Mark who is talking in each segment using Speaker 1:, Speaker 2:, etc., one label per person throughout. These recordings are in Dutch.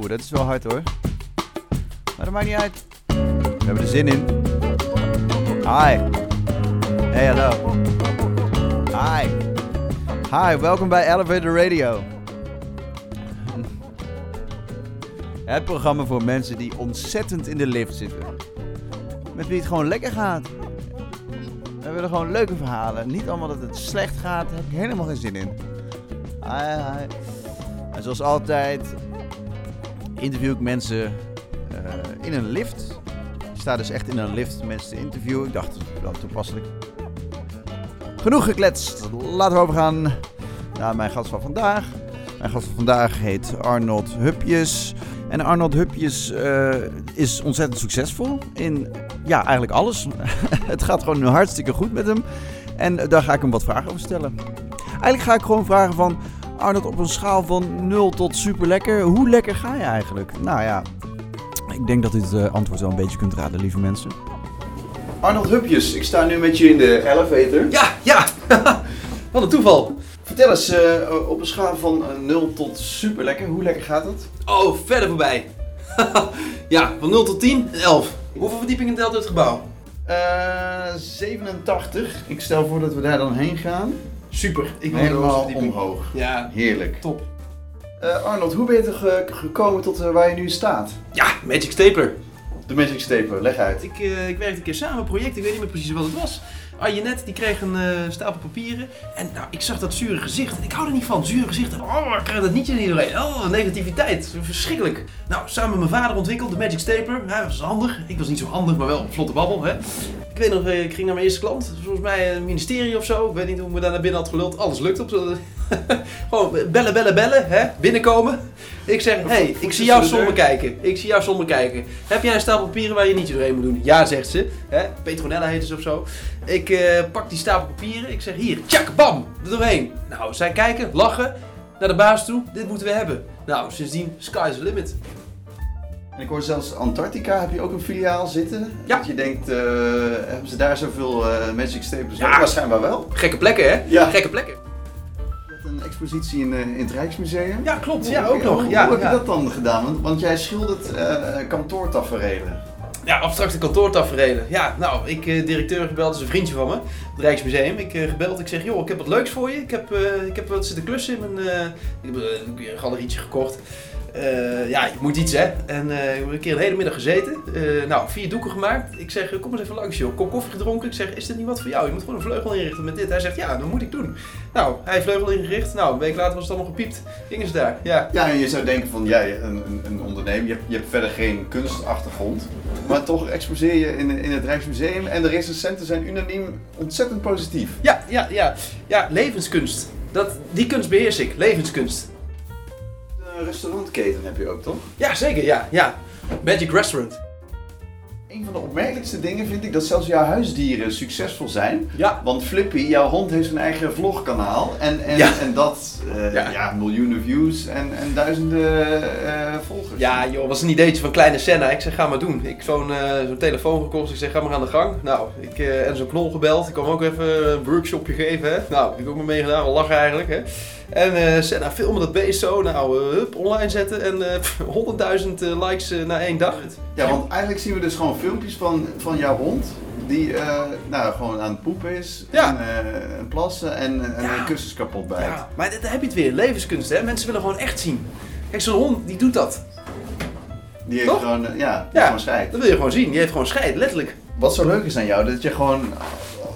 Speaker 1: Oeh, dat is wel hard hoor. Maar dat maakt niet uit. We hebben er zin in. Hi. Hey, hallo. Hi. Hi, welkom bij Elevator Radio. Het programma voor mensen die ontzettend in de lift zitten. Met wie het gewoon lekker gaat. We willen gewoon leuke verhalen. Niet allemaal dat het slecht gaat. Daar heb ik helemaal geen zin in. Hi, hi. En zoals altijd interview ik mensen eh, in een lift. Ik sta dus echt in een lift mensen te interviewen. Ik dacht, dat is wel toepasselijk. Genoeg gekletst. Laten we overgaan naar mijn gast van vandaag. Mijn gast van vandaag heet Arnold Hupjes. En Arnold Hupjes eh, is ontzettend succesvol in ja, eigenlijk alles. Het gaat gewoon nu hartstikke goed met hem. En eh, daar ga ik hem wat vragen over stellen. Eigenlijk ga ik gewoon vragen van... Arnold, op een schaal van 0 tot super lekker, hoe lekker ga je eigenlijk? Nou ja, ik denk dat u het eh, antwoord wel een beetje kunt raden, lieve mensen. Arnold Hupjes, ik sta nu met je in de elevator.
Speaker 2: Ja, ja! Wat een toeval!
Speaker 1: Vertel eens, eh, op een schaal van eh, 0 tot super lekker, hoe lekker gaat het?
Speaker 2: Oh, verder voorbij. ja, van 0 tot 10, een 11. Hoeveel verdiepingen telt dit gebouw?
Speaker 1: Eh, 87. Ik stel voor dat we daar dan heen gaan.
Speaker 2: Super, ik wil de hoogste
Speaker 1: Helemaal
Speaker 2: verdieping.
Speaker 1: omhoog.
Speaker 2: Ja,
Speaker 1: Heerlijk.
Speaker 2: top.
Speaker 1: Eh, Arnold, hoe ben je toch eh, gekomen tot eh, waar je nu staat?
Speaker 2: Ja, Magic Stapler.
Speaker 1: De Magic Stapler, leg uit.
Speaker 2: Ik, eh, ik werkte een keer samen op een project, ik weet niet meer precies wat het was. Arjenet, die kreeg een eh, stapel papieren. En nou, ik zag dat zure gezicht. En ik hou er niet van, zure gezichten. Oh, ik krijg dat niet in iedereen. Oh, negativiteit. Verschrikkelijk. Nou, samen met mijn vader ontwikkeld de Magic Stapler. Ja, dat was handig. Ik was niet zo handig, maar wel een vlotte babbel, hè. Ik weet nog, eh, ik ging naar mijn eerste klant. Volgens mij een ministerie of zo. Ik weet niet hoe ik me daar naar binnen had geluld. Alles lukt op. zo'n- Gewoon bellen, bellen, bellen. Hè? Binnenkomen. Ik zeg, hey, ik zie jou
Speaker 1: tussen de
Speaker 2: zonder
Speaker 1: deur.
Speaker 2: kijken. Ik zie jou zonder kijken. Heb jij een stapel papieren waar je niet doorheen moet doen? Ja, zegt ze. Hè? Petronella heet ze of zo. Ik eh, pak die stapel papieren. Ik zeg, hier, tjak, bam, er doorheen. Nou, zij kijken, lachen. Naar de baas toe. Dit moeten we hebben. Nou, sindsdien, sky's the limit.
Speaker 1: En ik hoor zelfs Antarctica, heb je ook een filiaal zitten?
Speaker 2: Ja.
Speaker 1: Dat je denkt, eh, hebben ze daar zoveel eh, Magic Staples?
Speaker 2: Ja.
Speaker 1: Ja, waarschijnlijk wel.
Speaker 2: Gekke plekken, hè?
Speaker 1: Ja.
Speaker 2: Gekke plekken.
Speaker 1: Je had een expositie in, eh, in het Rijksmuseum.
Speaker 2: Ja, klopt.
Speaker 1: Hoe-
Speaker 2: Ja, ook nog.
Speaker 1: Hoe,
Speaker 2: Ja,
Speaker 1: hoe heb
Speaker 2: ja.
Speaker 1: je dat dan gedaan? Want, want jij schildert eh kantoortaferelen.
Speaker 2: Ja, abstracte kantoortaferelen. Ja, nou, ik eh, directeur gebeld, dat is een vriendje van me, het Rijksmuseum. Ik eh, gebeld, ik zeg, joh, ik heb wat leuks voor je. Ik heb, eh, ik heb wat zitten klussen in mijn... eh, ik heb eh, een galerietje gekocht. Eh, ja, je moet iets, hè. En eh, ik heb een keer een hele middag gezeten. Eh, nou, vier doeken gemaakt. Ik zeg, eh, kom eens even langs, joh. Kop koffie gedronken. Ik zeg, is dit niet wat voor jou? Je moet gewoon een vleugel inrichten met dit. Hij zegt, ja, dat moet ik doen. Nou, hij heeft vleugel ingericht. Nou, een week later was het allemaal gepiept. Gingen ze daar, ja.
Speaker 1: Ja, en je zou denken van, jij, een, een, een ondernemer, je, hebt- je hebt verder geen kunstachtergrond. Maar toch exposeer je in, in het Rijksmuseum en de recensenten zijn unaniem ontzettend positief.
Speaker 2: Ja, ja, ja. Ja, levenskunst. Dat, die kunst beheers ik. Levenskunst.
Speaker 1: Een restaurantketen heb je ook, toch?
Speaker 2: Ja, zeker, ja, ja. Magic Restaurant.
Speaker 1: Een van de opmerkelijkste dingen vind ik dat zelfs jouw huisdieren succesvol zijn.
Speaker 2: Ja.
Speaker 1: Want Flippy, jouw hond, heeft zijn eigen vlogkanaal. En, en,
Speaker 2: Ja.
Speaker 1: en dat, eh,
Speaker 2: Ja.
Speaker 1: ja. miljoenen views en, en duizenden eh, volgers.
Speaker 2: Ja, joh, was een ideetje van kleine Senna. Ik zeg, ga maar doen. Ik zo'n eh, zo'n telefoon gekocht. Ik zeg, ga maar aan de gang. Nou, ik eh, en zo'n knol gebeld. Ik kwam ook even een workshopje geven, hè. Nou, ik ook maar meegedaan. Wel lachen eigenlijk, hè. En eh Senna, filmen dat beest zo. Nou, eh, hup, online zetten. En eh, pff, 100.000 eh, likes eh, na één dag.
Speaker 1: Ja, want eigenlijk zien we dus gewoon filmpjes van, van jouw hond. Die eh, nou, gewoon aan het poepen is.
Speaker 2: Ja.
Speaker 1: En, eh, en plassen en, en
Speaker 2: Ja.
Speaker 1: de kussens kapot bijt.
Speaker 2: Ja, maar daar heb je het weer. Levenskunst, hè. Mensen willen gewoon echt zien. Kijk, zo'n hond, die doet dat.
Speaker 1: Die heeft
Speaker 2: Toch?
Speaker 1: gewoon, eh, ja, die heeft
Speaker 2: Ja.
Speaker 1: gewoon scheid.
Speaker 2: Dat wil je gewoon zien. Die heeft gewoon scheid, letterlijk.
Speaker 1: Wat zo leuk is aan jou, dat je gewoon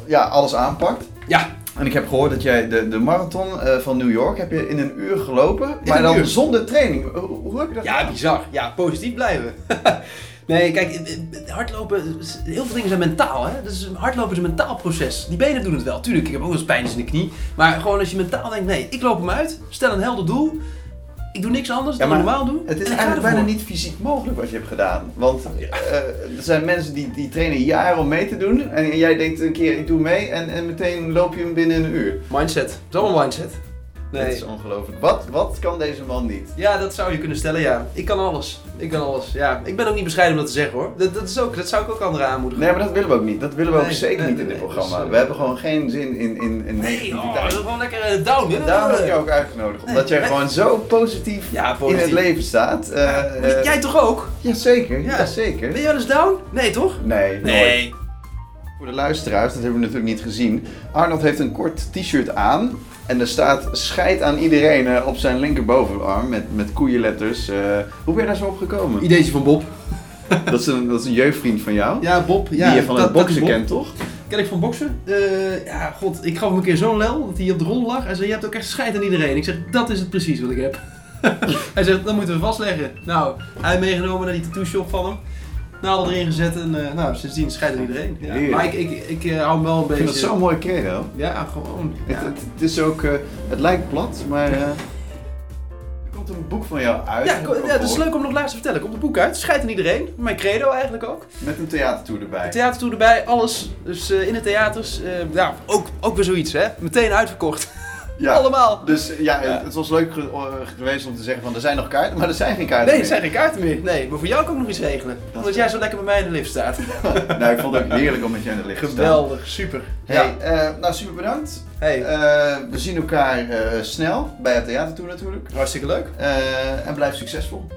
Speaker 1: ja, alles aanpakt.
Speaker 2: Ja,
Speaker 1: En ik heb gehoord dat jij de, de marathon eh, van New York heb je in een uur gelopen, maar
Speaker 2: een
Speaker 1: dan
Speaker 2: uur?
Speaker 1: zonder training. Hoe, hoe heb je dat
Speaker 2: Ja,
Speaker 1: gedaan?
Speaker 2: bizar. Ja, positief blijven. nee, kijk, hardlopen, heel veel dingen zijn mentaal. Hè? Dus hardlopen is een mentaal proces. Die benen doen het wel. Tuurlijk, ik heb ook wel eens pijn in de knie. Maar gewoon als je mentaal denkt, nee, ik loop hem uit, stel een helder doel. Ik doe niks anders
Speaker 1: Ja,
Speaker 2: dan
Speaker 1: maar
Speaker 2: normaal doen.
Speaker 1: Het is
Speaker 2: en ik ga
Speaker 1: eigenlijk
Speaker 2: ervoor.
Speaker 1: bijna niet fysiek mogelijk wat je hebt gedaan. Want eh, er zijn mensen die, die trainen jaren om mee te doen. En jij denkt een keer, ik doe mee. En, en meteen loop je hem binnen een uur.
Speaker 2: Mindset. Het is allemaal mindset.
Speaker 1: Dit is ongelooflijk. Wat, wat kan deze man niet?
Speaker 2: Ja, dat zou je kunnen stellen, ja. Ik kan alles. Ik kan alles, ja. Ik ben ook niet bescheiden om dat te zeggen, hoor. Dat, dat, is ook, dat zou ik ook anderen aanmoedigen.
Speaker 1: Nee, maar dat willen we ook niet. Dat willen we ook
Speaker 2: Nee,
Speaker 1: zeker
Speaker 2: nee,
Speaker 1: niet
Speaker 2: nee,
Speaker 1: in dit
Speaker 2: nee,
Speaker 1: programma.
Speaker 2: dat is, eh,
Speaker 1: We hebben gewoon geen zin in, in, in
Speaker 2: Nee, oh, dat
Speaker 1: negativiteit.
Speaker 2: is gewoon lekker eh, down, hè?
Speaker 1: Daarom heb ik jou ook uitgenodigd. Omdat jij
Speaker 2: Nee.
Speaker 1: gewoon zo positief
Speaker 2: Ja,
Speaker 1: in
Speaker 2: positief.
Speaker 1: het leven staat. Eh, eh,
Speaker 2: Jij toch ook?
Speaker 1: Jazeker,
Speaker 2: Ja.
Speaker 1: jazeker.
Speaker 2: Ben je wel eens down? Nee, toch?
Speaker 1: Nee, nooit. Voor de luisteraars, dat hebben we natuurlijk niet gezien. Arnold heeft een kort t-shirt aan. En er staat scheid aan iedereen eh, op zijn linkerbovenarm met, met koeienletters. eh. hoe ben je daar zo op gekomen?
Speaker 2: Ideetje van Bob.
Speaker 1: Dat is een, dat is een jeugdvriend van jou.
Speaker 2: Ja, Bob. Ja,
Speaker 1: die je van
Speaker 2: dat-
Speaker 1: het
Speaker 2: dat is
Speaker 1: boksen
Speaker 2: Bob.
Speaker 1: kent, toch?
Speaker 2: Ken ik van boksen? Eh, ja, god. Ik gaf hem een keer zo'n lel dat hij op de rol lag. Hij zei, je hebt ook echt scheid aan iedereen. Ik zeg, dat is het precies wat ik heb. hij zegt, dat moeten we vastleggen. Nou, hij meegenomen naar die tattoo shop van hem. Nadel erin gezet en eh, nou, sindsdien scheidt aan iedereen. Ja,
Speaker 1: Heerlijk.
Speaker 2: maar ik, ik, ik eh, hou hem wel een
Speaker 1: Ik
Speaker 2: beetje...
Speaker 1: vind dat zo'n mooie kerel.
Speaker 2: Ja, gewoon.
Speaker 1: Het,
Speaker 2: Ja.
Speaker 1: het, het is ook, eh, het lijkt plat, maar eh, er komt een boek van jou uit.
Speaker 2: Ja,
Speaker 1: heb
Speaker 2: ko-
Speaker 1: ik ook
Speaker 2: ja, het is
Speaker 1: gehoord,
Speaker 2: leuk om nog laatst te vertellen. Komt het boek uit, scheidt aan iedereen. Mijn credo eigenlijk ook.
Speaker 1: Met een theatertour erbij.
Speaker 2: Het theater toe erbij, alles. Dus eh, in de theaters, eh, ja, ook, ook weer zoiets hè. Meteen uitverkocht.
Speaker 1: Ja.
Speaker 2: Allemaal.
Speaker 1: Dus ja,
Speaker 2: Ja.
Speaker 1: Het, het was leuk ge- eh, geweest om te zeggen van er zijn nog kaarten, maar er zijn geen kaarten
Speaker 2: Nee,
Speaker 1: meer.
Speaker 2: er zijn geen kaarten meer. Nee, maar voor jou kan ik nog iets regelen. Omdat jij zo lekker bij mij in de lift staat.
Speaker 1: Nou, ik vond het ook heerlijk om met jou in het licht te staan.
Speaker 2: Geweldig, super.
Speaker 1: Hey,
Speaker 2: Ja.
Speaker 1: eh, nou super bedankt.
Speaker 2: Hey,
Speaker 1: Eh, we zien elkaar eh, snel bij het theatertour natuurlijk.
Speaker 2: hartstikke leuk.
Speaker 1: Eh, en blijf succesvol.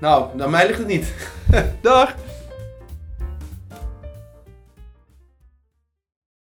Speaker 2: Nou, naar mij ligt het niet. Dag.